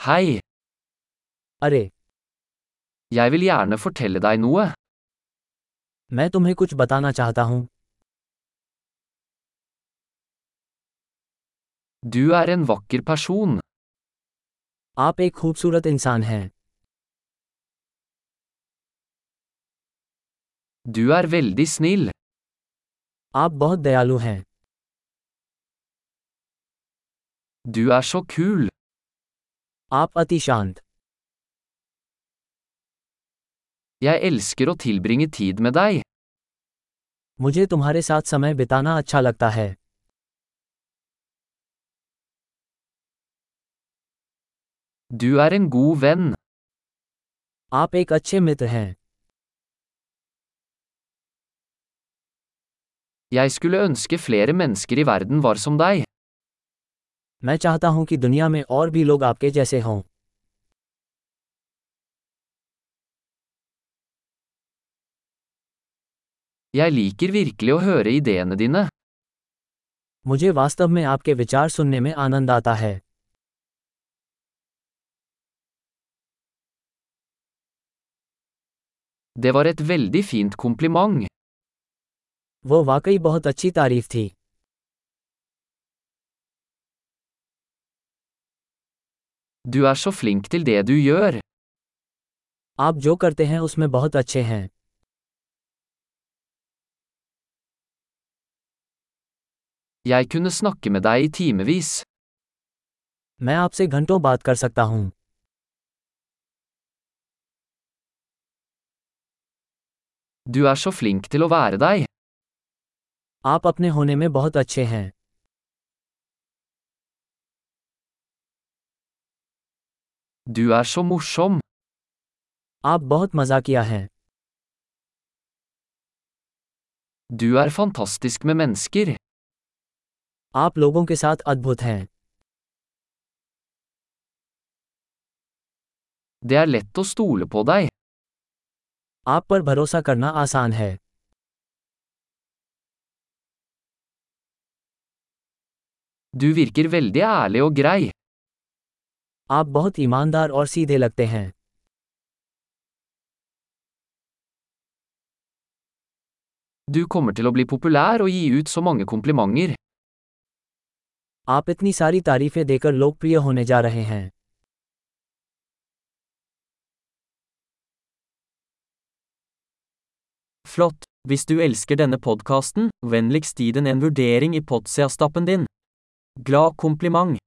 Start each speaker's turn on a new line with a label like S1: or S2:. S1: Hei,
S2: अरे
S1: jeg vil gjerne fortelle deg noe.
S2: मैं तुम्हें कुछ बताना चाहता हूँ
S1: Du er en vakker person.
S2: आप एक खूबसूरत इंसान हैं
S1: Du er veldig snill.
S2: आप बहुत दयालु हैं
S1: Du er så kul.
S2: आप अति शांत
S1: Jeg elsker å tilbringe tid med deg.
S2: मुझे तुम्हारे साथ समय बिताना अच्छा लगता है
S1: Du er en god venn.
S2: आप एक अच्छे मित्र हैं
S1: Jeg skulle ønske flere mennesker i verden var som deg.
S2: मैं चाहता हूँ कि दुनिया में और भी लोग आपके जैसे हों
S1: Jeg liker virkelig å høre ideene dine.
S2: मुझे वास्तव में आपके विचार सुनने में आनंद आता है
S1: Det var et veldig fint kompliment.
S2: वो वाकई बहुत अच्छी तारीफ थी
S1: Du er så flink til det du gjør.
S2: आप जो करते हैं उसमें बहुत अच्छे हैं
S1: Jeg kunne snakke med deg i timevis.
S2: मैं आपसे घंटों बात कर सकता हूँ
S1: Du er så flink til å være deg.
S2: आप अपने होने में बहुत अच्छे हैं
S1: Du er så morsom.
S2: आप बहुत मजाकिया हैं
S1: Du er fantastisk med mennesker.
S2: आप लोगों के साथ अद्भुत हैं
S1: Det er lett å stole på deg.
S2: आप पर भरोसा करना आसान है
S1: Du virker veldig ærlig og grei.
S2: आप बहुत ईमानदार और सीधे लगते हैं
S1: Du kommer til å bli populær og gi ut så mange komplimenter.
S2: आप इतनी सारी तारीफें देकर लोकप्रिय होने जा रहे हैं
S3: Flott! Hvis du elsker denne podkasten, vennligst gi den en vurdering i Potsia-stappen din. Glad kompliment!